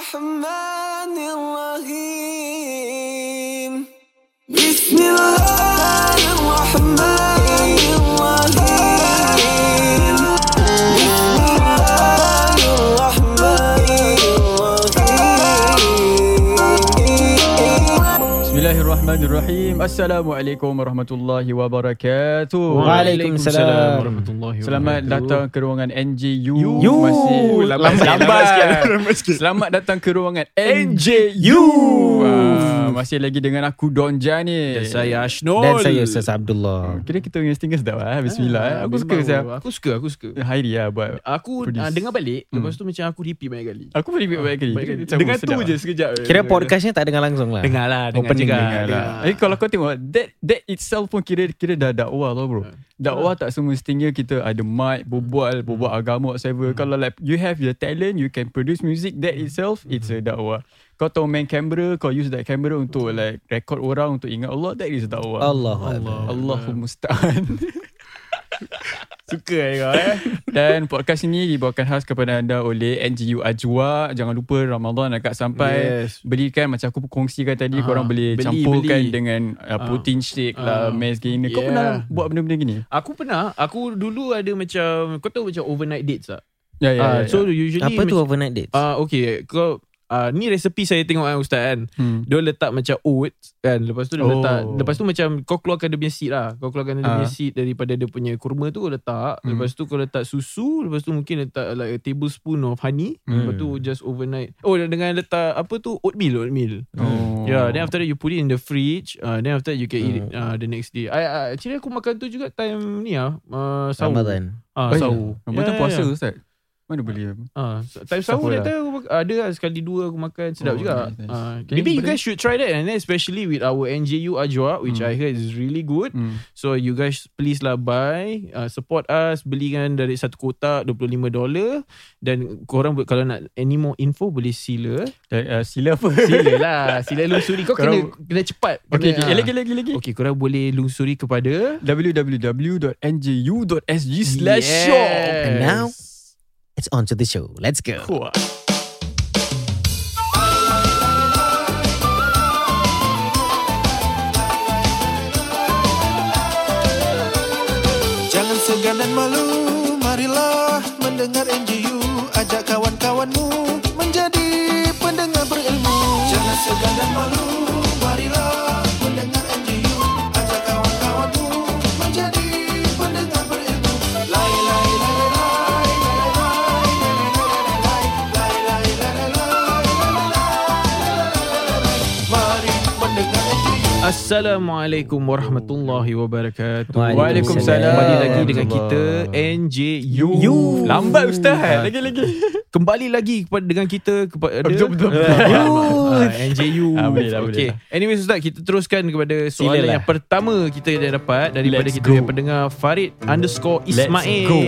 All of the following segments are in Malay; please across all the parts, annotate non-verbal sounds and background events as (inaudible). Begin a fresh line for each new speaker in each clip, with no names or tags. الرحمن الرحيم بسم الله الرحمن الرحيم بسم الله الرحمن الرحيم
Bismillahirrahmanirrahim. Assalamualaikum warahmatullahi wabarakatuh.
Waalaikumsalam
warahmatullahi
Selamat datang ke ruangan NJU.
You.
Masih
Lambat sikit,
lambat.
lambat sikit, lambat sikit.
Selamat datang ke ruangan NJU. Ah, masih lagi dengan aku Don Jani.
Dan saya Ashnol
Dan saya Ustaz Abdullah
Kira kita punya stinger sedap lah. Bismillah. eh. aku suka saya.
Aku suka Aku suka
Hairi lah buat.
Ah, Aku
Produce.
uh, dengar balik
Hmm.
Lepas tu macam aku repeat banyak kali
Aku boleh buat baik kali.
Baik kali.
Macam
Dengar tu
sedap
je
lah.
sekejap
Kira podcastnya tak dengar langsung lah
Dengar lah Dengar
Opening
juga,
Dengar lah. Eh kalau kau tengok that that itself pun kira kira dah dakwah lah bro. Dakwah tak semestinya kita ada mic, berbual, berbual agama whatever. Kalau like you have the talent, you can produce music that itself it's a dakwah. Kau tahu main kamera, kau use that kamera untuk like record orang untuk ingat Allah, that is dakwah.
Allah
Allahumma musta'an.
Suka eh kau eh
Dan podcast ini dibawakan khas kepada anda oleh NGU Ajwa. Jangan lupa Ramadan agak sampai.
Yes.
Belikan macam aku kongsikan tadi,
Ah,
korang boleh
beli,
campurkan
beli.
dengan uh,
Ah.
protein shake lah,
Ah.
maize gainer. Kau
Yeah.
pernah buat benda-benda gini?
(laughs) Aku pernah Aku dulu ada macam Kau tahu macam overnight dates tak
Ya, ya,
Ah,
ya.
So usually
Apa tu
macam-
overnight dates?
Ah Okay Kau ah, Ni resepi saya tengok kan Ustaz kan
Hmm.
Dia letak macam oats kan Lepas tu dia
Oh.
oh. letak Lepas tu macam Kau keluarkan dia punya seed lah Kau keluarkan dia
Ah.
punya seed Daripada dia punya kurma tu kau letak
Hmm.
Lepas tu kau letak susu Lepas tu mungkin letak like a tablespoon of honey
Hmm.
Lepas tu just overnight Oh dan dengan letak apa tu Oatmeal Oatmeal
Oh.
Yeah, then after that you put it in the fridge. Uh, then after that you can eat it
Hmm.
uh, the next day. I, I actually aku makan tu juga time ni ah, uh, sahur.
Ramadan
Ah,
Oh, ya.
sahur.
Ramadan puasa Ustaz. Mana boleh?
Ah, so- time sahur
Sahur
that
lah.
time aku mak- ada lah sekali dua aku makan sedap
Oh,
juga.
nice, nice.
Ah,
Then
maybe you
boleh-
guys should try that and then especially with our NJU Ajwa which
Hmm.
I heard is really good.
Hmm.
So you guys please lah buy, uh, support us, belikan dari satu kotak $25 dan korang bu- kalau nak any more info boleh sila.
Eh, eh, (laughs) sila apa?
Sila lah, sila lusuri kau kena
Korang-
kena cepat. Kena,
Okay, okay.
ah.
Eh, lagi, lagi, lagi.
Okey, korang boleh lungsuri kepada
www.nju.sg slash shop.
Yes.
And now It's on to the show Let's go
Kuat.
Jangan segan dan malu, marilah mendengar NGU Ajak kawan-kawanmu menjadi pendengar berilmu Jangan segan dan malu, marilah mendengar NGU Ajak kawan-kawanmu menjadi pendengar berilmu Lai, lai, lai, lai, lai, lai, lai, lai, lai, lai, lai, lai, lai, lai, lai, lai, lai, lai, lai, lai, lai, lai, lai. Mari mendengar NGU
Assalamualaikum warahmatullahi wabarakatuh.
Waalaikumsalam.
Kembali lagi dengan kita
Warahmatullahi.
NJU.
Lambat Ustaz.
Ah.
Lagi, lagi.
Kembali lagi kepada dengan kita kepada
Betul, betul, betul.
Ah, NJU.
Ah, boleh lah, boleh
Okey.
lah.
Anyway Ustaz, kita teruskan kepada soalan
Silalah.
yang pertama kita dah dapat daripada
Let's
kita
go.
yang pendengar Farid underscore Ismail.
go.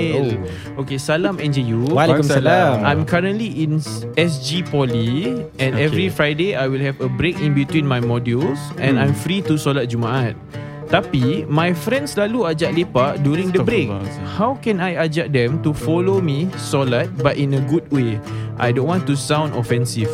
Oh.
Okey, salam NJU.
Waalaikumsalam
I'm currently in s- SG Poly and
Okay.
every Friday I will have a break in between my modules and
Hmm.
I'm free to solat Jumaat. Tapi my friends selalu ajak lepak during the break.
Astaghfirullahalazim.
How can I ajak them to follow me solat but in a good way? I don't want to sound offensive.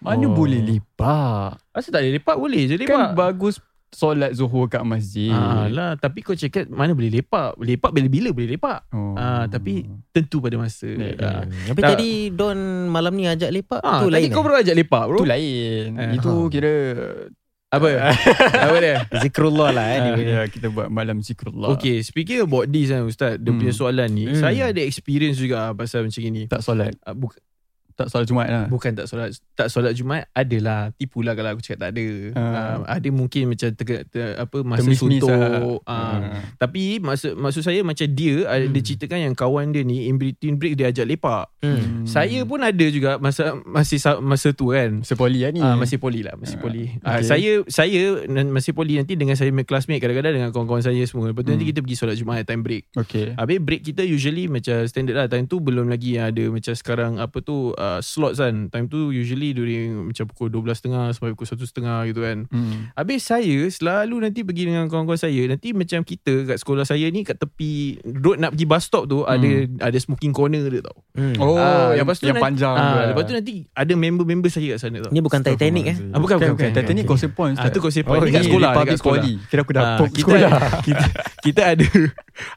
Mana
Oh.
boleh lipat?
Asal tak boleh lepak boleh je
Kan
lepak.
bagus solat zuhur kat masjid.
lah tapi kau cakap mana boleh lepak? Lepak bila-bila boleh lepak.
Oh.
Ah, tapi tentu pada masa.
Ya, ya.
Ah.
Hmm, Tapi
Tak.
tadi Don malam ni ajak lepak
Ah,
Tu
tadi
lain
kau
eh?
baru ajak lepak bro.
Itu lain.
Eh,
Itu
ha.
kira
Apa?
(laughs)
Apa dia?
Zikrullah lah eh,
Ah,
dia punya.
ya, kita buat malam zikrullah.
Okay, speaking about this kan Ustaz, dia
Hmm.
punya soalan ni,
Hmm.
saya ada experience juga ah pasal macam ni.
Tak solat.
Ah, bu-
Tak solat Jumaat lah.
bukan tak solat tak solat Jumaat adalah tipulah kalau aku cakap tak ada.
Ah.
Ah, ada mungkin macam ter, ter, apa masa
Termis-mis
suntuk.
lah.
Ah.
Ah.
Tapi maksud maksud saya macam dia ah, dia
Hmm.
ceritakan yang kawan dia ni in between break dia ajak lepak.
Hmm.
Hmm.
Saya pun ada juga masa masih sa- masa tu kan.
Masa poli lah ni.
Ah, masih poli lah Masih
Ah,
poli ah,
okay.
Saya Saya nan- Masih poli nanti Dengan saya punya classmate Kadang-kadang dengan kawan-kawan saya semua Lepas tu nanti
Hmm.
kita pergi solat Jumaat Time break
Okay.
Habis break kita usually macam standard lah Time tu belum lagi yang ada macam sekarang apa tu uh, uh, slots kan Time tu usually during Macam pukul 12.30 Sampai pukul 1.30 gitu kan
Hmm.
Habis saya selalu nanti pergi dengan kawan-kawan saya. Nanti macam kita kat sekolah saya ni kat tepi road nak pergi bus stop tu hmm. ada ada smoking corner dia tau.
Hmm.
Oh,
Ah,
yang,
lepas tu
yang
nanti-
panjang.
Ah,
tu. eh.
lepas tu nanti ada member-member saya kat sana tau.
Ni bukan Titanic eh.
Ah, bukan, bukan, bukan.
Titanic
Okay.
Causeway Point.
Ah, tu Causeway
Oh,
Point. Ni kat
ni
sekolah,
Republic
dekat sekolah.
Poly. Kira aku dah
Ah,
pop
kita,
sekolah.
(laughs) kita, kita ada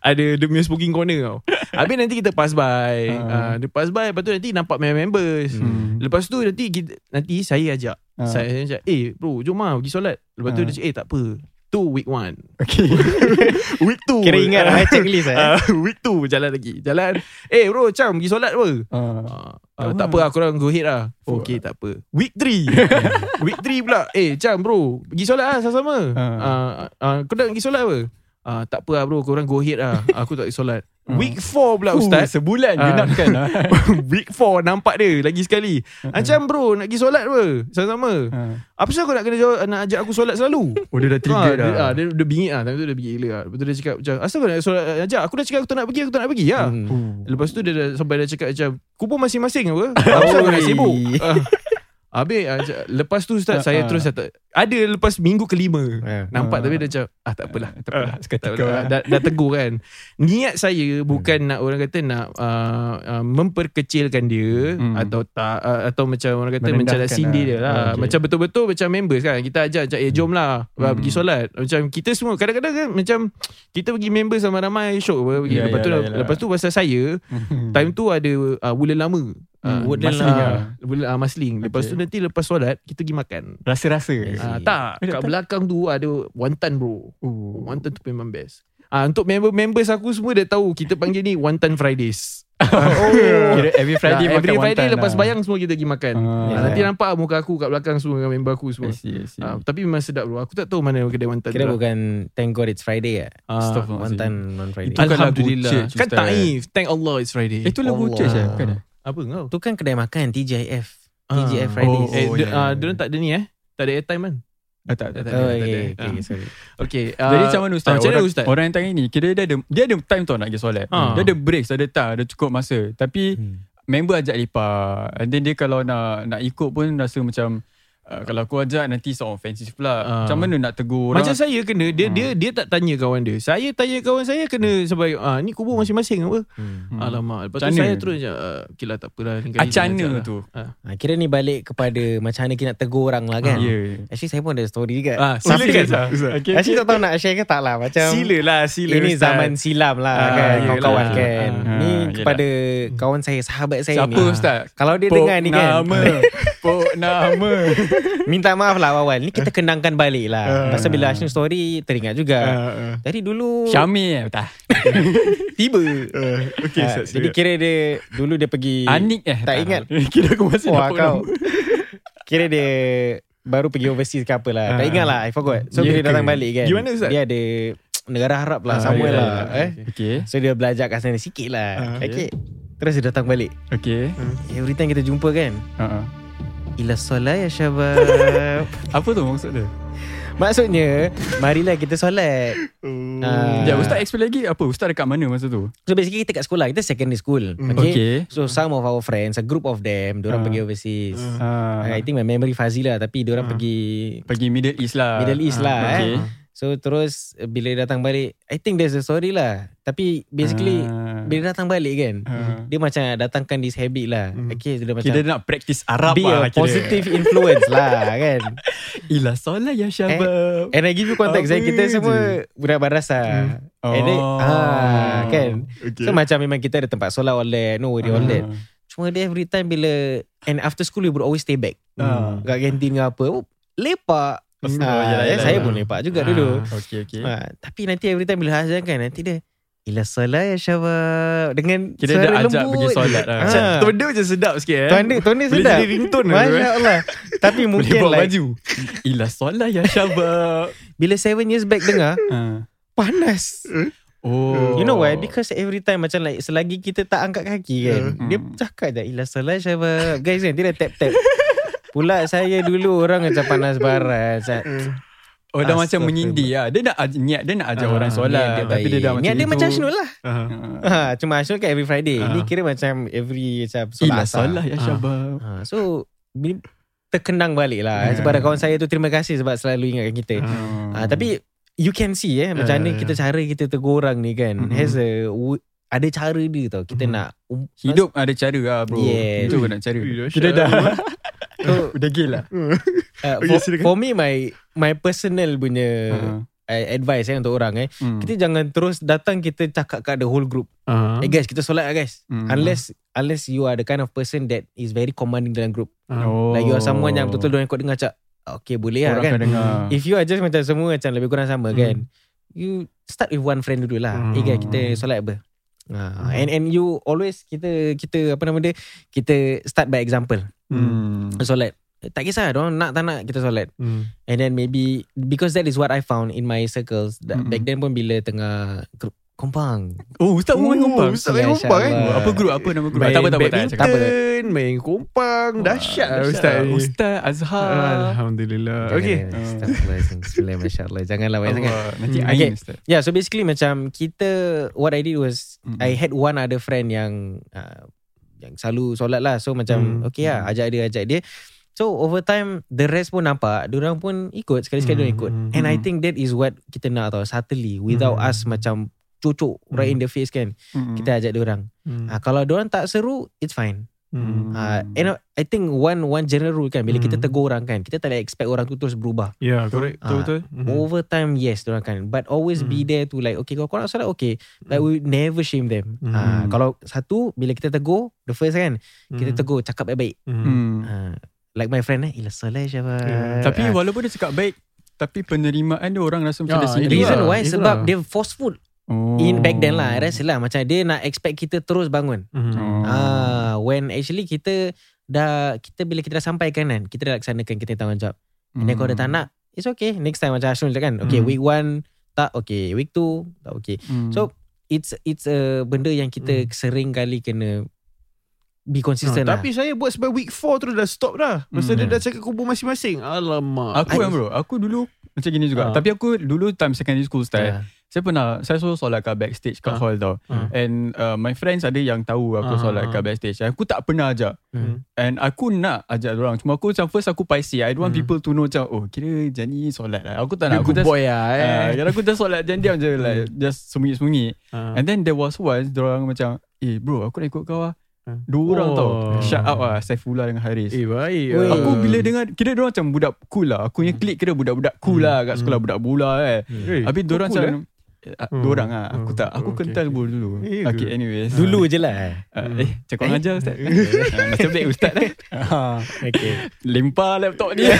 ada dia punya smoking corner tau. Habis nanti kita pass by. Ah, dia pass by lepas tu nanti nampak members.
Hmm.
Lepas tu nanti kita, nanti saya ajak.
Ah.
Saya saya ajak, "Eh, bro, jom ah pergi solat." Lepas tu
Ah.
dia cakap, "Eh, tak apa. Tu week one
Okay.
Week tu
Kira ingat lah eh, checklist eh.
Ah, Week tu jalan lagi Jalan Eh bro Cham pergi solat apa
Ah.
Ah, ah, tak apa aku orang go ahead lah
Oh,
Okay tak apa Week
(laughs)
3 Week 3 pula Eh Cham bro Pergi solat lah sama-sama
Ah.
Ah, ah, Kau dah pergi solat apa Ah, Tak apa lah bro Korang go ahead
(laughs)
lah Aku tak pergi solat
Ah.
Week 4
Uh,
pula ustaz
sebulan
Ah.
genapkan lah.
(laughs) Week 4 nampak dia Lagi sekali Macam bro Nak pergi solat apa Sama-sama
Ah.
Apa sebab kau nak kena jawab, Nak ajak aku solat selalu
Oh dia dah
Ah,
trigger
dia, ah,
dah.
dia, dia bingit lah Time tu dia bingit gila lah Lepas tu dia cakap macam Asal kau nak solat ajak Aku dah cakap aku tak nak pergi Aku tak nak pergi lah
Hmm.
Oh.
Lepas tu dia dah, sampai dia cakap macam Kubur masing-masing
(laughs)
apa Asal kau nak sibuk Ah. Habis ah, macam- Lepas tu
Ah,
ustaz
ah.
Saya terus tak Ada lepas minggu kelima
Ah.
Nampak
Ah. Eh,
tapi dia macam Ah tak apalah
Tak apalah, seketika
tak apalah.
lah.
Dah, dah tegur kan Niat saya Bukan
Hmm.
nak orang kata Nak uh, uh, Memperkecilkan dia
Hmm.
Atau tak uh, Atau macam orang kata Macam nak
Merendahkan
sindir
lah.
dia lah
Ah, okay.
Macam betul-betul Macam members kan Kita ajak macam Eh jom lah
Hmm.
Pergi solat Macam kita semua Kadang-kadang kan Macam Kita pergi members ramai-ramai Syok apa pergi.
Ya,
Lepas tu
yalah, yalah.
Lepas tu pasal saya (laughs) Time tu ada uh, Wulan lama uh,
Hmm, Woodland
Masling
lah.
lah. Wulan, uh, Masling Lepas
Okay.
tu nanti Lepas solat Kita pergi makan
Rasa-rasa.
Ah,
Eh.
tak,
Eh, tak-
kat belakang tu ada wantan bro.
Oh.
Wantan tu memang best. Ah untuk member-members aku semua dah tahu kita panggil ni Wantan Fridays.
Kira every Friday
Ah,
makan
Oh. every Friday
wonton
lepas
lah.
bayang semua kita pergi makan.
Ah.
Ah, nanti nampak ah muka aku kat belakang semua dengan member aku
I
semua.
see, I see.
Ah, tapi memang sedap bro. Aku tak tahu mana kedai wantan
Kira
tu. lah.
bukan Thank God it's Friday eh.
Ah,
Astaghfirullahalazim.
Wantan non Friday.
Itu kan lagu
Alhamdulillah.
Church,
Kan
Ustaz.
taif. Thank Allah it's Friday.
Eh, Itu lagu
Allah.
church eh? Bukan eh?
apa kau?
Tu kan kedai makan TJF.
Ah.
TJF
Oh,
Fridays.
eh,
oh,
dia,
ya,
ah,
ya.
dia orang tak ada ni eh. Tak ada airtime kan?
Ah, tak, tak, tak.
tak
Oh,
ada, tak ada.
okay, okay,
Ah.
sorry.
Okay.
Jadi
ah,
macam mana ustaz?
ah, Macam mana
orang,
ustaz?
orang yang tanya ni, kira dia ada dia ada time tau nak pergi solat.
Ah.
Dia ada breaks, ada time, ada cukup masa. Tapi
Hmm.
member ajak lepak. And then dia kalau nak nak ikut pun rasa macam uh, kalau aku ajak nanti sound offensive pula.
Ah.
Macam mana nak tegur orang?
Macam saya kena dia dia dia tak tanya kawan dia. Saya tanya kawan saya kena sebagai ah ni kubur masing-masing apa.
Hmm.
Hmm. Alamak. Lepas tu
Macam
saya
mana?
terus je uh, okay lah tak apalah ni kali ni
Acana
ajak
tu.
Ah, kira ni balik kepada macam mana kita nak tegur orang lah kan.
Ya. Yeah.
Actually saya pun ada story juga.
lah. Ah,
Silakan,
sila kan.
Ustaz. Okay,
Actually tak tahu nak share ke tak lah Macam
Sila lah, sila.
Ini
Ustaz.
zaman silam lah
Ah,
kan
yelah.
Kawan-kawan kan
Ah,
Ni
yelah.
kepada kawan saya Sahabat saya
Siapa
ni Ah.
ustaz?
Kalau dia dengar ni kan (laughs)
Nama. Pok nama.
Minta maaf lah awal Ni kita kendangkan balik lah Pasal bila Ashnu story Teringat juga Dari dulu
Syami eh tak.
Tiba
Okay,
Ah, Jadi kira dia Dulu dia pergi
Anik eh.
Tak ingat
(laughs) Kira aku masih
Wah
dapat
kau
nama.
(laughs) Kira dia Baru pergi overseas ke apa lah
Ah.
Tak ingat lah I forgot So
Ya
bila
ke?
datang balik kan
Gimana, Ustaz?
Dia ada Negara Arab lah Sama
yelah,
lah
yelah.
eh.
Okay.
So dia belajar kat sana sikit lah
ya, Ah,
Okay Terus dia datang balik
Okay.
Every time kita jumpa kan
Uh-uh.
Ila solat ya
(laughs)
syabab
Apa tu maksud dia?
Maksudnya Marilah kita solat Ah.
Oh. Sekejap, Ustaz explain lagi apa? Ustaz dekat mana masa tu?
So basically kita kat sekolah Kita secondary school Okay,
Hmm. Okay.
So some of our friends A group of them Diorang
Ah.
pergi overseas
Ah,
I think my memory fuzzy lah Tapi diorang pergi
pergi Middle East lah.
Middle East lah
okay.
eh. So terus uh, Bila datang balik I think there's a story lah Tapi basically
Ah.
Bila datang balik kan
Ah.
Dia macam datangkan this habit lah Okay so dia macam
Hmm. Kira dia nak practice Arab
Be
lah
a positive influence
(laughs)
lah kan
Ila solat ya syabab.
And I give you context eh,
Apa
Kita
je?
semua Budak madrasah
Hmm.
And then
Oh.
Eh, ah, Kan
Okay.
So macam memang kita ada tempat solat all that No worry all that
Ah.
Cuma dia every time bila And after school We would always stay back
Ah.
Kat kantin ke apa oh, Lepak
Oh,
Ah,
yalah,
eh,
yalah,
Saya
yalah.
pun lepak juga
Ah.
dulu
Okay, okay.
ah, Tapi nanti every time Bila azan kan Nanti dia Ila solat ya syabab Dengan
Kira
suara
dia ajak
lembut
pergi solat ya? lah.
Macam
Macam Tuan dia macam sedap sikit eh.
Tuan dia, tuan dia
Boleh
sedap
jadi ringtone dulu, eh.
Masya Allah Tapi
Boleh
mungkin
buat
like
baju. Ila solat ya
(laughs)
syabab.
Bila 7 years back dengar
Ah.
Panas
Oh.
Ha. You know why? Because every time macam like selagi kita tak angkat kaki kan,
Yeah.
dia
Hmm.
cakap je ilah salah syabab. Guys kan dia dah tap tap. Pula saya dulu orang macam panas barat. Saya,
Oh dah macam
Astaghfirullah. Ah,
menyindir lah Dia nak aj- niat Dia nak ajar orang solat
Niat dia
Tapi
baik.
dia dah macam
Niat dia
itu.
macam Ashnul lah.
(laughs) Uh-huh.
Ha, cuma Ashnul kan every Friday.
Ah.
Ini kira macam every macam solat
Ilah
asar.
salah ya
Ah.
syabab
Ha, so bila terkenang balik lah.
Yeah.
Yeah. Kepada kawan saya tu terima kasih sebab selalu ingatkan kita.
Ah.
Hmm.
Ha, tapi you can see eh macam mana
Yeah,
kita cara kita tegur orang ni kan.
Mhm.
Has a w- ada cara dia tau. Kita
Hmm.
Mhm.
nak um,
Hidup ada cara lah bro
Yes.
Itu kau nak cara
Ui, dahsyat
Kita dah
(laughs) So,
Dah gila (laughs)
uh,
Oh,
Okay,
for,
silakan.
for me my my personal punya
Ha. Hmm.
uh, advice eh untuk orang eh. Kita jangan terus datang kita cakap kat the whole group.
Uh-huh.
Hmm.
Eh guys, kita solat lah guys.
Mhm.
Unless unless you are the kind of person that is very commanding dalam group.
oh.
Like you are someone yang betul-betul orang kau dengar cak. Okay boleh lah
Orang
kan.
akan dengar
If you are just macam semua macam lebih kurang sama
Hmm.
hmm. kan. You start with one friend dulu lah. Hmm. Eh guys, kita solat apa?
Hmm.
Ah, and and you always kita kita apa nama dia kita start by example
Hmm.
solat tak kisah orang nak tak nak kita solat
Hmm.
and then maybe because that is what I found in my circles
Mm-mm.
Hmm.
mm back then pun bila tengah group kompang
Oh Ustaz pun main
Oh,
kumpang
Ustaz main
Ya,
kumpang eh.
insyaAllah.
Apa group Apa nama group
Main
Tak apa tak apa, tak apa tak apa.
badminton, main kompang, dahsyat lah ustaz ni.
Ustaz Azhar
Alhamdulillah. Ah, Okay.
Bismillahirrahmanirrahim Janganlah banyak sangat
Allah, Nanti
Hmm.
Ain
Okay.
Ustaz
Yeah, so basically macam kita what I did was
Mm.
mm. I had one other friend yang uh, yang selalu solat lah. So macam
Mm.
mm. okay lah, ajak dia, ajak dia. So over time the rest pun nampak, orang pun ikut sekali-sekali
Mm,
mm. ikut.
mm,
And
mm.
I think that is what kita nak tau, subtly without
Mm.
us macam cucuk right in the face kan.
Mm.
Kita ajak dia orang.
Hmm.
Ha, kalau dia orang tak seru, it's fine.
Hmm.
Ha,
Mm.
and I think one one general rule kan bila kita
Mm.
tegur orang kan, kita tak boleh expect orang tu terus berubah.
Yeah, Ya, correct.
Ah.
Betul-betul. Hmm.
Over time yes Diorang akan But always
Hmm.
be there to like Okay kalau korang salah Okay Like we never shame them
Hmm.
Ah, Kalau satu Bila kita tegur The first kan Kita
Hmm.
tegur Cakap baik-baik
Hmm.
Hmm.
Ah, Like my friend eh Ila salah siapa
Yeah.
Tapi walaupun dia cakap baik Tapi penerimaan dia orang rasa macam
Ah,
dia sendiri lah.
Reason
Itulah,
why
itulah.
Sebab dia forceful
oh.
In back then lah I rasa lah Macam dia nak expect kita Terus bangun
Hmm.
Oh.
Ah, When actually kita Dah Kita bila kita dah sampaikan kan Kita dah laksanakan Kita punya tanggungjawab And
Hmm.
then kalau dia tak nak It's okay Next time macam Ashrul cakap kan Okay
Hmm.
week one Tak okay Week two Tak okay
Hmm.
So, it's it's a benda yang kita sering kali kena be consistent lah.
Ah, Tapi saya buat sebab week 4 terus dah stop dah. Masa
Hmm.
dia dah cakap kubur masing-masing. Alamak.
Aku kan bro Aku dulu Macam gini juga
Ah.
Tapi aku dulu Time secondary school style
Ah.
Saya pernah Saya selalu solat kat backstage Kat
Ah.
hall tau
Ah.
And uh, my friends ada yang tahu Aku
Ah.
solat kat backstage Aku tak pernah ajak
Hmm.
And aku nak ajak orang Cuma aku macam First aku paisi I don't want
Hmm.
people to know macam Oh kira Jani solat lah Aku tak
Dia
nak Aku
good
just
boy lah
Ah,
eh.
Kalau aku just solat Jani diam je like, Just sembunyi-sembunyi
Ah.
And then there was once Diorang macam Eh bro aku nak ikut kau lah
Hmm.
Dua orang
Oh.
tau Shut up lah Saifullah dengan Haris
Eh
Weh.
baik. ah.
Aku bila dengar Kira diorang macam budak cool lah Aku punya klik kira budak-budak cool
Hmm.
lah Kat sekolah
Hmm.
budak bola eh
Eh,
Habis
kau
diorang
cool,
macam
eh?
eh, ah,
Hmm.
Diorang lah Aku
Hmm.
tak Aku
Okay,
kental bulu dulu
Eh,
Okay
ke?
anyways
Dulu je lah.
Ah, Eh cakap orang ajar
(laughs)
ustaz Ah, Macam baik ustaz lah Ah,
Okay.
Lempar laptop
Eh.
dia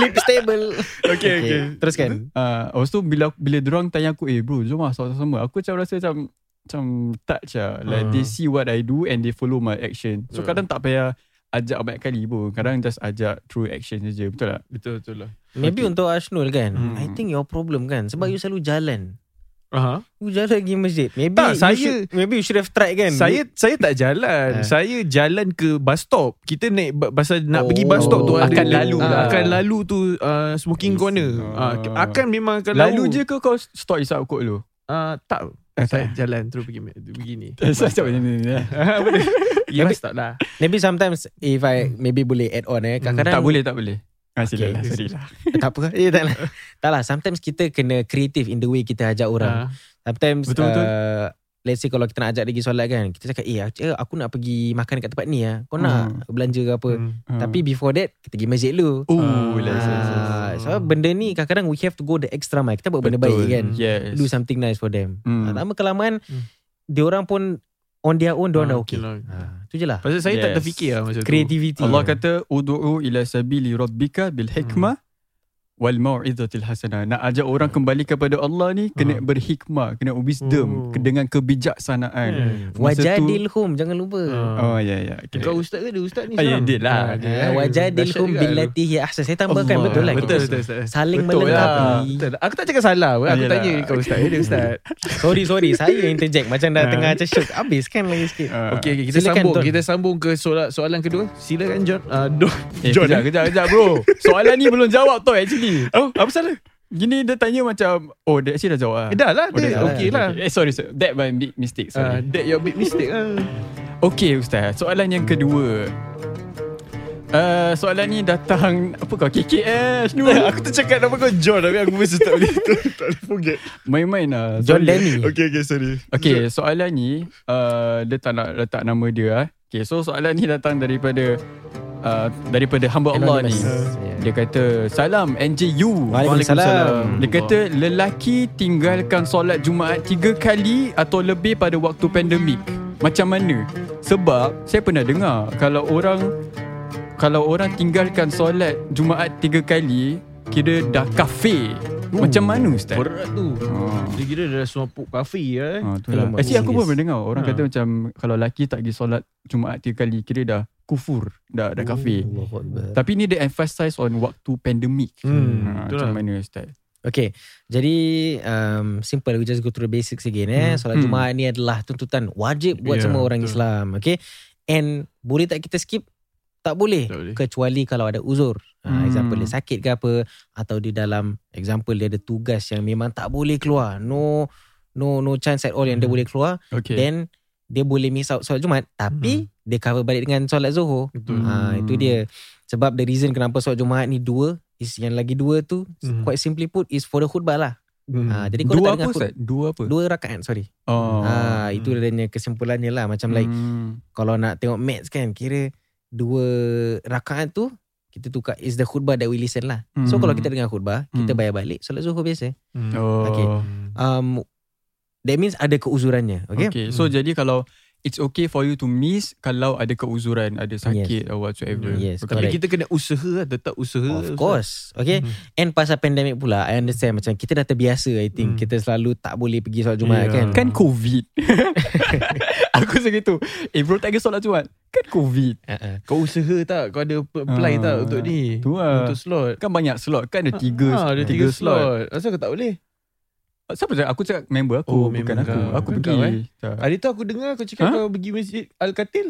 Flip stable. kan?
Okay, okay.
Teruskan.
Ah, Lepas tu bila bila diorang tanya aku Eh bro jom lah sama-sama Aku macam rasa macam Macam touch lah Like
Hmm.
Ah.
they see what I do And they follow my action So
Ah.
kadang tak payah Ajak banyak kali pun Kadang just ajak Through action je Betul tak?
Betul-betul lah.
Maybe untuk Ashnul kan.
Hmm.
I think your problem kan. Sebab you selalu jalan.
Aha.
You jalan pergi masjid. Maybe
Tak,
you
saya-
should, maybe you should have tried kan.
Saya saya tak jalan.
Eh.
Ah.
Saya jalan ke bus stop. Kita naik bu- pasal
Oh.
nak pergi bus stop tu ada-
Akan lalu
Ah,
lah.
Akan lalu tu uh,
I
smoking
see.
corner.
Ah.
Ah, akan memang akan
Lalu je ke Eh, kau Stop isap kot
(laughs)
lu?
Ah, tak. Saya jalan terus pergi begini.
Saya macam ni ni,
(laughs)
ni.
Pergi bus stop lah.
Maybe sometimes if I maybe boleh add on eh. Kadang-kadang
Tak boleh tak boleh Ah, sila
Okay.
lah, sorry lah.
tak apa. (laughs) Eh, tak lah. tak lah. Sometimes kita kena creative in the way kita ajak orang.
Ah.
Sometimes
Betul,
betul,
betul.
betul. Uh, Let's say kalau kita nak ajak dia pergi solat kan Kita cakap Eh aku, aku nak pergi makan dekat tempat ni lah Kau nak belanja ke apa
Hmm.
Ah.
Tapi before that Kita pergi masjid dulu
Oh
Ah.
lah
yes, yes, yes.
Ah, Sebab benda ni kadang-kadang We have to go the extra mile Kita buat benda
Betul.
baik kan
Yes
Do something nice for them
Hmm.
hmm. Lama kelamaan
Hmm.
Dia orang pun On their own Dia orang
Ah,
dah okay
lah.
Ah, Itu je lah
Pasal saya tak
Yes.
terfikir lah masa tu.
Creativity
Allah kata ud'u ila sabili rabbika bil hikmah
Hmm.
wal mau'izatil hasanah. Nak ajak orang kembali kepada Allah ni kena
Hmm.
berhikmah, kena wisdom,
Oh.
ke- dengan kebijaksanaan.
Hmm.
Masa tu-
Wajadilhum Jangan lupa
Ah.
Oh ya ya. Okay.
Kau ustaz ke dia ustaz ni
Ah, ya,
sekarang?
dia lah.
Ah,
Ah, Wajadilhum
Dahsyat juga tu.
billati hiya ahsan Ya, ah, Saya tambahkan
Allah.
betul lah
Betul,
Kita
betul, ustaz.
Saling
Betul lah.
melengkapi
Betul lah. Aku tak cakap salah pun. Aku
Ah,
tanya
yelah.
kau ustaz. Eh, Dia ustaz.
Sorry sorry Saya interject Macam dah
Ah.
tengah macam syuk Habis kan lagi sikit
Ah.
Okey okay, kita
Silakan,
sambung
Don.
kita sambung ke soalan soalan kedua. Silakan (laughs) John. Uh, Don. (laughs)
Eh, kejap, kejap, kejap bro Soalan ni belum jawab tau Actually tadi Oh apa salah Gini dia tanya macam Oh dia actually dah jawab lah
Eh, dah lah
Oh, dah
dia.
jawab.
Okay lah.
Eh sorry sir That my big mistake
Uh,
sorry.
that your big mistake lah.
Okay Ustaz Soalan yang kedua Uh, soalan ni datang Apa kau KKS
(laughs)
ni
Aku tercakap nama kau John Tapi aku mesti tak boleh Tak boleh forget
Main-main lah
John
Sorry.
Lenny
Okay okay sorry
Okay soalan ni uh, Dia tak nak letak nama dia ah. Okay so soalan ni datang daripada uh, Daripada hamba Allah ni
Anonymous.
Dia kata Salam NJU
Waalaikumsalam.
Dia kata Lelaki tinggalkan solat Jumaat Tiga kali Atau lebih pada waktu pandemik Macam mana? Sebab Saya pernah dengar Kalau orang Kalau orang tinggalkan solat Jumaat tiga kali Kira dah kafir Macam mana Ustaz? Oh.
Berat tu. Dia kira dia dah semua puk kafe lah. eh.
Ha, tu lah.
Alamak,
Actually aku pun
serious. Ah.
pernah dengar Orang
Ha.
kata macam Kalau lelaki tak pergi solat Jumaat tiga kali Kira dah kufur Dah, dah kafir Tapi ni dia emphasize on Waktu pandemik
Hmm,
ha,
betul
Macam
lah.
mana Ustaz?
Okay Jadi um, Simple We just go through the basics again eh.
Hmm.
Solat
Hmm.
Jumaat ni adalah Tuntutan wajib Buat
Ya,
semua orang
betul.
Islam Okay And Boleh tak kita skip tak boleh.
Tak boleh.
Kecuali kalau ada uzur ha,
Hmm.
Example dia sakit ke apa Atau di dalam Example dia ada tugas Yang memang tak boleh keluar No No no chance at all Yang dia boleh keluar
Okay Hmm.
Then Dia boleh miss out solat Jumaat Tapi Dia cover balik dengan solat Zuhur
Betul.
ha, Itu dia Sebab the reason kenapa solat Jumaat ni dua Is yang lagi dua tu
Hmm.
Quite simply put Is for the khutbah lah
Hmm.
ha, Jadi kau
Dua
tak dengar
apa
khut-
Ustaz? Dua apa?
Dua rakaat sorry
Oh.
ha, Itu dia punya kesimpulannya lah Macam like
Hmm.
kalau nak tengok match kan kira dua rakaat tu kita tukar is the khutbah that we listen lah. Mm. So
Hmm.
kalau kita dengar khutbah, kita
Hmm.
bayar balik solat zuhur biasa.
Hmm.
Oh.
Okay.
Okay.
Um that means ada keuzurannya,
okay.
okay? Hmm. okay.
So jadi kalau it's okay for you to miss kalau ada keuzuran, ada sakit yes. or whatsoever.
Yes,
Tapi
correct.
kita kena usaha lah. Tetap usaha. Hmm.
Of course. Okay. And pasal pandemik pula, I understand macam kita dah terbiasa I think.
Hmm.
Kita selalu tak boleh pergi solat Jumaat
Yeah.
kan.
Kan COVID. (laughs) Aku segitu. Eh bro tak pergi solat Jumaat. Kan COVID.
Uh-uh.
Kau usaha tak? Kau ada apply
Ah,
tak untuk ni?
tu lah.
Untuk slot.
Kan banyak slot kan ada tiga,
Ah, ada tiga, slot. Asal kau tak boleh?
Siapa cakap? Aku cakap member aku
Oh,
bukan
member
aku.
kau.
Aku
Bukan
pergi.
kau, eh?
Tak.
Hari tu aku dengar kau cakap
Ha?
kau pergi masjid
(laughs)
Al-Katil.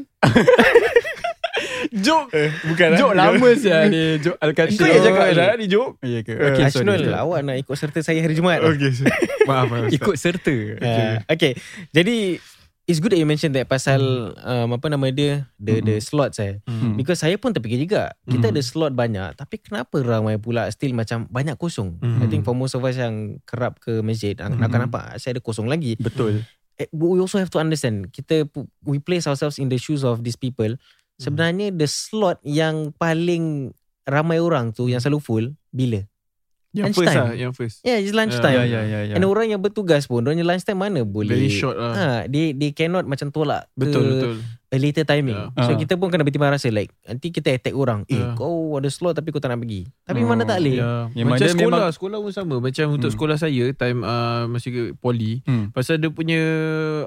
Jok.
Eh, Bukan
Jok
lah.
lama sia ni. Jok Al-Qatil.
Kau yang cakap dah ni Jok.
Ya ke?
Eh,
Okay, sorry.
Ashnul awak nak ikut serta saya hari Jumaat. lah.
Okay sorry.
(laughs) Maaf, maaf. Ikut serta.
Okay. okay. Jadi it's good that you mentioned that pasal um, apa nama dia the the slots eh.
Hmm.
Because saya pun terfikir juga Kita ada slot banyak Tapi kenapa ramai pula Still macam banyak kosong
Hmm.
I think
Hmm.
for most of us yang Kerap ke masjid mm. Akan nampak Saya ada kosong lagi
Betul.
Eh, But we also have to understand Kita pu- We place ourselves in the shoes of these people
Hmm.
Sebenarnya the slot yang paling Ramai orang tu Yang selalu full Bila?
Hmm. Yang
Lunchtime.
first lah. Yang first.
Yeah it's
Ya,
lunchtime
ya, ya. ya.
And orang yang bertugas pun Orang yang lunchtime mana boleh Eh,
Very short lah.
ha, they, they cannot macam tolak ke
Betul, betul.
a later timing.
Ya.
Ah.
So kita pun kena bertimbang rasa like nanti kita attack orang. Eh
Ya.
kau ada slot tapi kau tak nak pergi.
Oh,
Tapi mana tak boleh.
Ya.
Yang
Macam
mana
sekolah,
memang-
sekolah pun sama. Macam untuk
Hmm.
sekolah saya time uh, masa ke poli,
Hmm.
pasal dia punya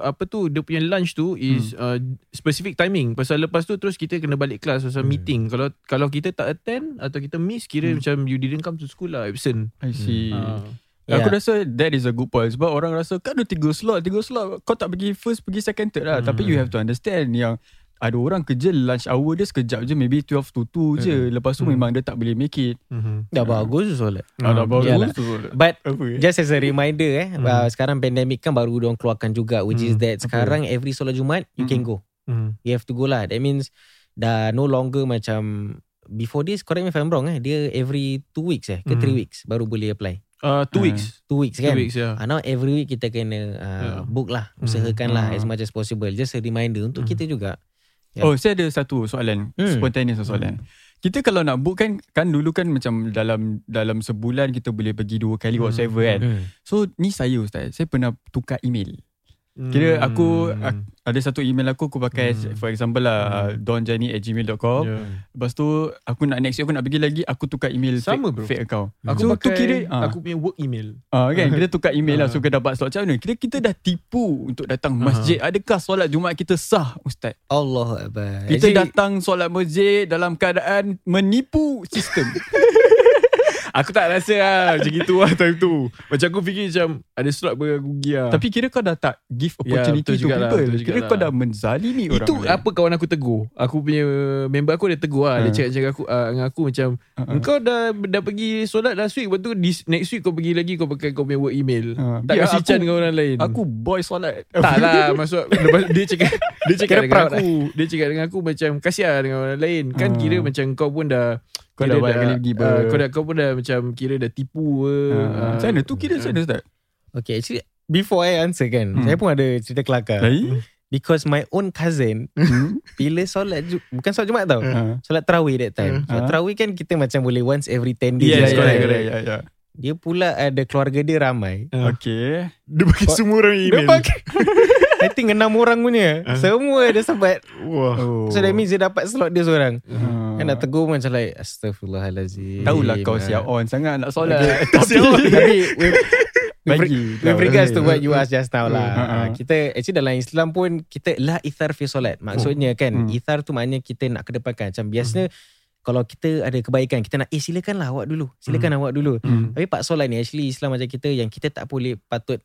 apa tu, dia punya lunch tu
Hmm.
is uh, specific timing. Pasal lepas tu terus kita kena balik kelas pasal
Hmm.
meeting. Kalau kalau kita tak attend atau kita miss kira
Hmm.
macam you didn't come to school lah, absent.
I see. Ya.
Ah.
Hmm. Aku rasa that is a good point sebab orang rasa kan ada tiga slot, tiga slot kau tak pergi first pergi second third lah.
Hmm.
Tapi you have to understand yang ada orang kerja lunch hour dia sekejap je maybe 12 to 2 je. Lepas tu
Hmm.
memang dia tak boleh make it.
Mhm.
Dah bagus tu solat.
Ah,
Ada baru
Yalah.
tu.
But
Apa eh?
just as a reminder eh
Hmm.
uh, sekarang pandemic kan baru diorang keluarkan juga which is that sekarang every solat Jumaat you can go.
Mhm.
You have to go lah. That means dah no longer macam before this correct me if I'm wrong eh dia every two weeks eh ke
Hmm.
three weeks baru boleh apply.
Ah,
Ah.
two weeks.
Two weeks
Two
kan?
weeks ya.
Ah, now every week kita kena uh,
Yeah.
book lah
Mm.
usahakan
Ah.
lah as much as possible just a reminder untuk
Mm.
kita juga
Ya.
Oh,
Yeah.
saya ada satu soalan.
Hmm.
Spontaneous soalan. Kita kalau nak book kan kan dulu kan macam dalam dalam sebulan kita boleh pergi dua kali
Hmm.
whatsoever kan. So ni saya ustaz, saya pernah tukar email. Kira aku- aku- Ada satu email aku aku pakai
Hmm. Ya.
for example lah hmm. donjani at gmail.com
Yeah.
Lepas tu aku nak next year aku nak pergi lagi aku tukar email
Sama,
fake,
bro.
fake account.
Aku
so tu
pakai
kira ah
aku punya work email.
ah, kan kita tukar email lah
Ah.
so kita dapat slot macam mana? Kira kita dah tipu untuk datang
Ah.
masjid. Adakah solat Jumaat kita sah ustaz?
Allah Akbar
(laughs) Kita datang solat masjid dalam keadaan menipu sistem.
Aku tak rasa lah Macam gitu lah time tu Macam aku fikir macam Ada slot boleh aku pergi lah
Tapi kira kau dah tak give
Ya,
opportunity
betul
yeah, to
jugalah,
people.
betul
Kira
jugalah.
kau dah menzalimi orang
Itu
lain.
apa kawan aku tegur Aku punya Member aku dia tegur lah Dia
Ha.
cakap cakap aku ah, Dengan aku macam
Ha-ha.
Engkau dah Dah pergi solat last week Lepas tu this, Next week kau pergi lagi Kau pakai kau punya work email
Ha.
Tak
Biar
kasi
aku-
can dengan orang lain
Aku boy (laughs) solat.
tak lah Maksud
(laughs)
lepas, Dia cakap Dia cakap
Kira
dengan
proud lah.
aku Dia cakap dengan aku Macam kasih lah dengan orang lain Kan
Ah.
kira macam kau pun dah
Kau
kira
dah banyak kali pergi
ah,
ber- Hmm.
Kau dah kau pun dah macam Kira dah tipu ke ah.
Macam mana? Tu kira macam mana Ustaz?
Okay actually Before I answer kan
Hmm.
Saya pun ada cerita kelakar
Lain?
Because my own cousin
Hmm?
Bila solat Ju- Bukan solat Jumaat tau
Ha.
Solat tarawih that time
Ah.
Solat tarawih kan kita macam boleh Once every 10 days
Ya,
Yes,
ya,
correct,
ya,
correct.
ya, ya.
Dia pula ada keluarga dia ramai
Okay.
Dia bagi semua orang email.
Dia pakai (laughs) I think 6 orang punya Semua ada sahabat
Wah.
Oh.
So that means dia dapat slot dia seorang
Ha.
Kan nak tegur pun macam like Astaghfirullahalazim Ah.
Tahulah kau siap on sangat nak solat. Eh, (laughs) Tapi
Tapi with, with,
bagi.
with regards to what you asked just now lah
Ha, ha.
Kita actually dalam Islam pun Kita lah ithar fi solat Maksudnya kan
Hmm.
Ithar tu maknanya kita nak kedepankan Macam biasanya Kalau kita ada kebaikan Kita nak eh silakan lah awak dulu Silakan awak dulu
Hmm.
Tapi pak solat ni actually Islam macam kita Yang kita tak boleh patut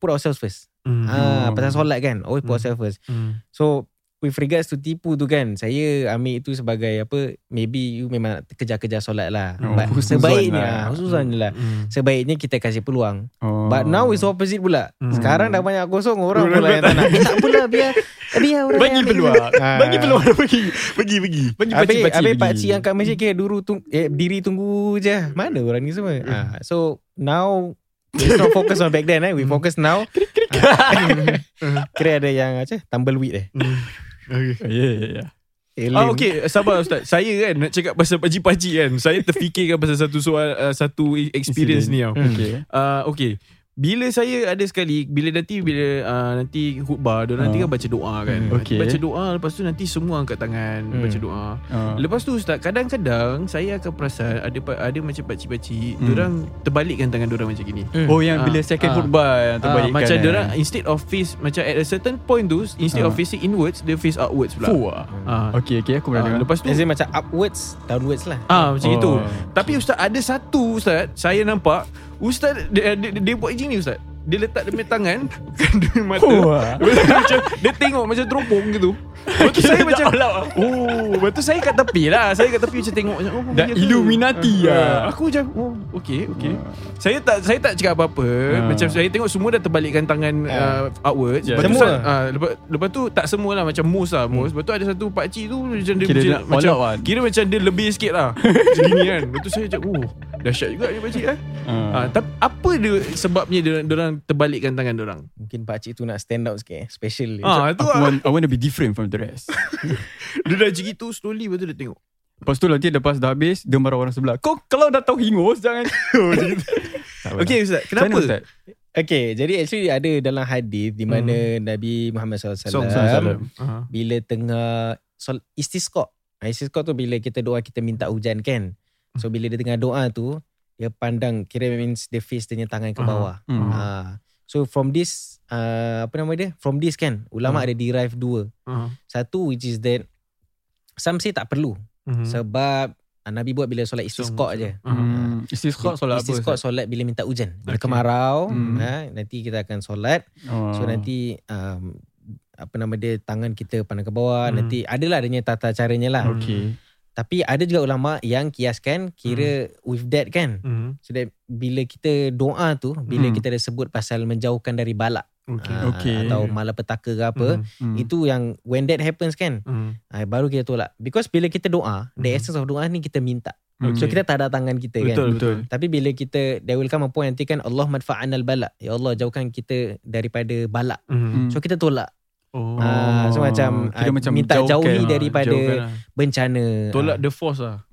Put ourselves first
Hmm.
ah,
Hmm.
Pasal solat kan Always
Mhm.
put
Hmm.
ourselves first
Hmm.
So with regards to tipu tu kan Saya ambil itu sebagai apa Maybe you memang nak kejar-kejar solat lah
Oh,
But
husnuzon lah.
sebaiknya Khususan lah
Hmm.
Sebaiknya kita kasih peluang
Oh.
But now it's opposite pula
Hmm.
Sekarang dah banyak kosong Orang pula yang tak nak Eh, Tak pula biar Biar orang
Bagi
yang-
peluang.
Ah.
Bagi peluang bagi.
Pergi, pergi.
Bagi
Habis,
pakcik-pakcik
habis
pergi.
pakcik yang kat masjid kira duru tung, eh, diri tunggu je. Mana orang ni semua? Ah, so now Let's not focus on back then eh. We focus now (laughs) Ah. (laughs) Kira ada yang apa, Tumbleweed eh
Okay.
Ya, ya, ya.
Oh,
Ah, okay, sabar Ustaz. Saya kan nak cakap pasal pakcik-pakcik kan. Saya terfikirkan pasal satu soal, uh, satu experience ni tau.
Hmm.
Okay.
Uh, okay. Bila saya ada sekali bila nanti bila uh, nanti khutbah dia
Ah.
nanti kan baca doa kan.
Hmm, okay.
Baca doa lepas tu nanti semua angkat tangan
Hmm.
baca doa.
Ah.
Lepas tu ustaz kadang-kadang saya akan perasan ada pa- ada macam pakcik-pakcik
Hmm.
hmm. orang terbalikkan tangan orang macam gini.
Oh yang bila
Ah,
second
ah.
khutbah yang
Ah,
terbalikkan.
macam
eh.
dia orang instead of face macam at a certain point tu instead
Ah.
of facing inwards they face outwards pula.
Fuh. ah.
Ah.
Okay, okay aku pernah
Ah,
dengar.
lepas tu
As in macam upwards Downwards lah
Ah macam
Oh.
oh. itu. Tapi ustaz ada satu ustaz saya nampak ustaz dia, dia, dia, dia buat macam ni ustaz. Dia letak dia punya tangan (laughs) kan dia mata.
Fuh,
Oh.
ah.
macam dia tengok macam teropong gitu. Lepas tu (laughs) saya macam Oh, lepas tu saya kat tepi lah. Saya kat tepi macam tengok macam oh,
Dah
ya ke?
Illuminati
Ah,
lah.
Aku macam oh, okay, okay. Saya tak saya tak cakap apa-apa. Macam saya tengok semua dah terbalikkan tangan uh, outwards.
Ah. Ya.
Lepas tu,
Semua?
Ustaz, ah, lepas, lepas tu tak semua lah macam mus lah mus. Lepas tu ada satu pak cik tu macam dia
Hmm. Kira
macam,
nak all
macam
out kan?
kira macam dia lebih sikit
(laughs)
lah. macam gini kan. Lepas tu saya macam oh, dahsyat juga dia pak cik kan.
Ah.
Ah, tapi apa dia sebabnya dia orang terbalikkan tangan dia orang?
Mungkin pakcik tu nak stand out sikit eh. Special dia.
Ah, tu
Aku
ah.
want, I want to be different from the rest.
Dia dah macam gitu slowly lepas tu dia tengok.
Lepas tu nanti lepas dah habis, dia marah orang sebelah. Kau kalau dah tahu hingus, (laughs) jangan. Tak apalah.
Okay Ustaz,
Macam mana,
kenapa?
Ustaz?
Okay jadi actually ada dalam hadis Di mana Nabi Muhammad SAW
Song, song,
Salam.
Ah.
Bila tengah sol, Istisqa Ah, Istisqa tu bila kita doa Kita minta hujan kan
Hmm.
So bila dia tengah doa tu Dia pandang Kira means Dia face dia punya tangan ke
Ah.
bawah
Hmm.
Ah, So from this uh, Apa nama dia From this kan Ulama'
Hmm.
ada derive dua
Ah.
Satu which is that Some say tak perlu
Mhm.
Sebab ah, Nabi buat bila solat istisqa
Song,
je
song. Ah.
Hmm. Istisqa solat apa?
Istisqa
Ustaz?
solat bila minta hujan Bila
Okay.
kemarau
Hmm.
ha, Nanti kita akan solat
Ah.
Hmm.
So nanti um, Apa nama dia Tangan kita pandang ke bawah
Hmm.
Nanti adalah adanya tata caranya lah
Okay.
Tapi ada juga ulama yang kiaskan
Hmm.
Kira with that kan
Mhm.
So that bila kita doa tu Bila
Hmm.
kita ada sebut pasal menjauhkan dari balak
Okay.
ah,
Okay.
Atau malapetaka ke apa
Mhm.
Hmm.
Itu yang when that happens kan
Mhm.
ah, Baru kita tolak Because bila kita doa The
Hmm.
essence of doa ni kita minta
Okay.
So kita tak ada tangan kita kan
Betul,
Betul.
betul.
Tapi bila kita There will come a point nanti kan Allah madfa'anal balak Ya Allah jauhkan kita daripada balak
Hmm.
So kita tolak
Oh.
Ah, so macam,
Kira
ah,
macam
minta
jauhkan.
jauhi
Ah,
daripada-
jauhkan lah.
bencana
Tolak the force lah.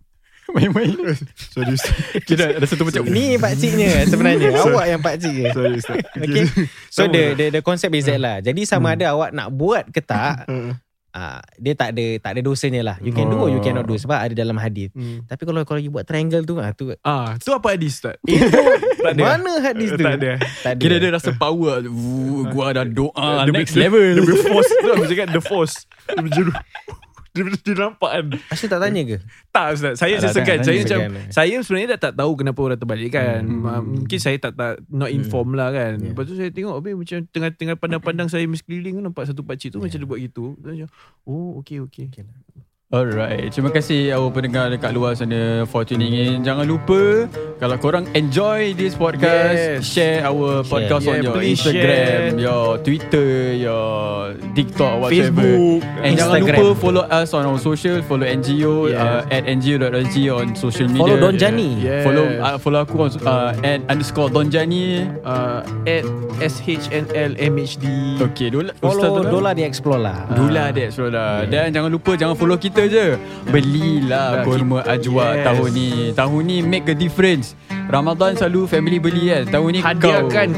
(laughs) Main-main.
Sorry, Ustaz.
Kira ada satu macam.
(laughs) Ni pakciknya sebenarnya Awak yang pakcik je
Sorry, Ustaz.
Okay So the, the, the concept is that lah Jadi sama ada awak nak buat ke tak
Uh,
ah, Dia tak ada tak ada dosanya lah You can do or you cannot do Sebab ada dalam hadis
hmm.
Tapi kalau kalau you buat triangle tu ah, tu
Ah, tu apa hadis tak?
tak Mana hadis tu
Tak ada.
tak ada.
Eh, Kira dia rasa power. Wuh, Gua ada doa Ah,
Dia
next
boleh-
level.
The force. Tu aku cakap the force.
Dia berjeru.
Daripada (laughs) dia nampak kan
Asal tak tanya ke?
Tak Ustaz
Tak
Saya
lah,
sesekkan
kan,
Saya
kan,
macam
kan, kan.
Saya sebenarnya dah tak tahu Kenapa orang terbalik kan
Hmm. Ya.
Ma- Mungkin saya tak, tak Not informed lah kan
Yeah.
Lepas tu saya tengok Habis macam Tengah-tengah pandang-pandang Saya miskeliling Nampak satu pakcik tu
Ya.
Macam dia buat gitu Saya macam Oh okay okay
Alright, terima kasih awak pendengar dekat luar sana for tuning in. Jangan lupa kalau korang enjoy this podcast, yes.
Yes.
share our share. podcast on
Yeah,
your
please
Instagram,
share.
your Twitter, your TikTok, whatever.
Facebook.
And jangan
Instagram.
lupa follow us on our social, follow NGO
Yes.
uh, at ngo.sg on social media.
Follow Don Jani.
Yeah.
Follow uh, follow aku on uh, at underscore Don Jani.
uh, At SHNLMHD
Okay, Dola,
Follow
Ustaz
Dola di Explore lah.
Dula dek Serola Dan jangan lupa Jangan follow kita je Belilah
Ya,
korma ajwa
yes.
tahun ni Tahun ni make a difference Ramadan selalu family beli kan Tahun ni
Hadiahkan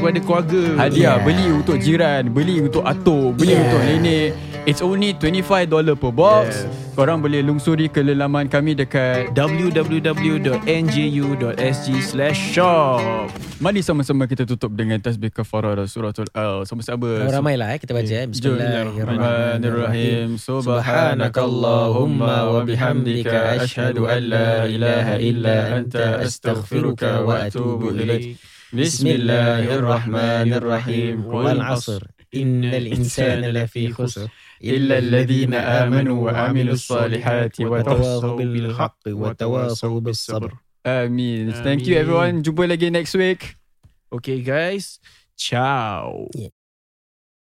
kau
kepada keluarga
Hadiah
Yeah.
Beli untuk jiran Beli untuk atuk Beli
Yeah.
untuk nenek It's only $25 per box
Yes.
Korang boleh lungsuri ke lelaman kami dekat
www.nju.sg slash shop
Mari sama-sama kita tutup dengan tasbih kafarah Suratul Al Sama-sama
Oh, ramai lah eh. Kita baca eh. Bismillahirrahmanirrahim.
Bismillahirrahmanirrahim. Subhanakallahumma wa bihamdika asyhadu an la ilaha illa anta astaghfiruka wa atubu ilaik. Bismillahirrahmanirrahim. Wal
Wal asr. Innal insana lafi khusr.
إلا الذين آمنوا وعملوا الصالحات
وتواصوا بالحق وتواصوا بالصبر.
Amin. Thank you everyone. Jumpa lagi next week.
Okay guys Ciao
Yeah.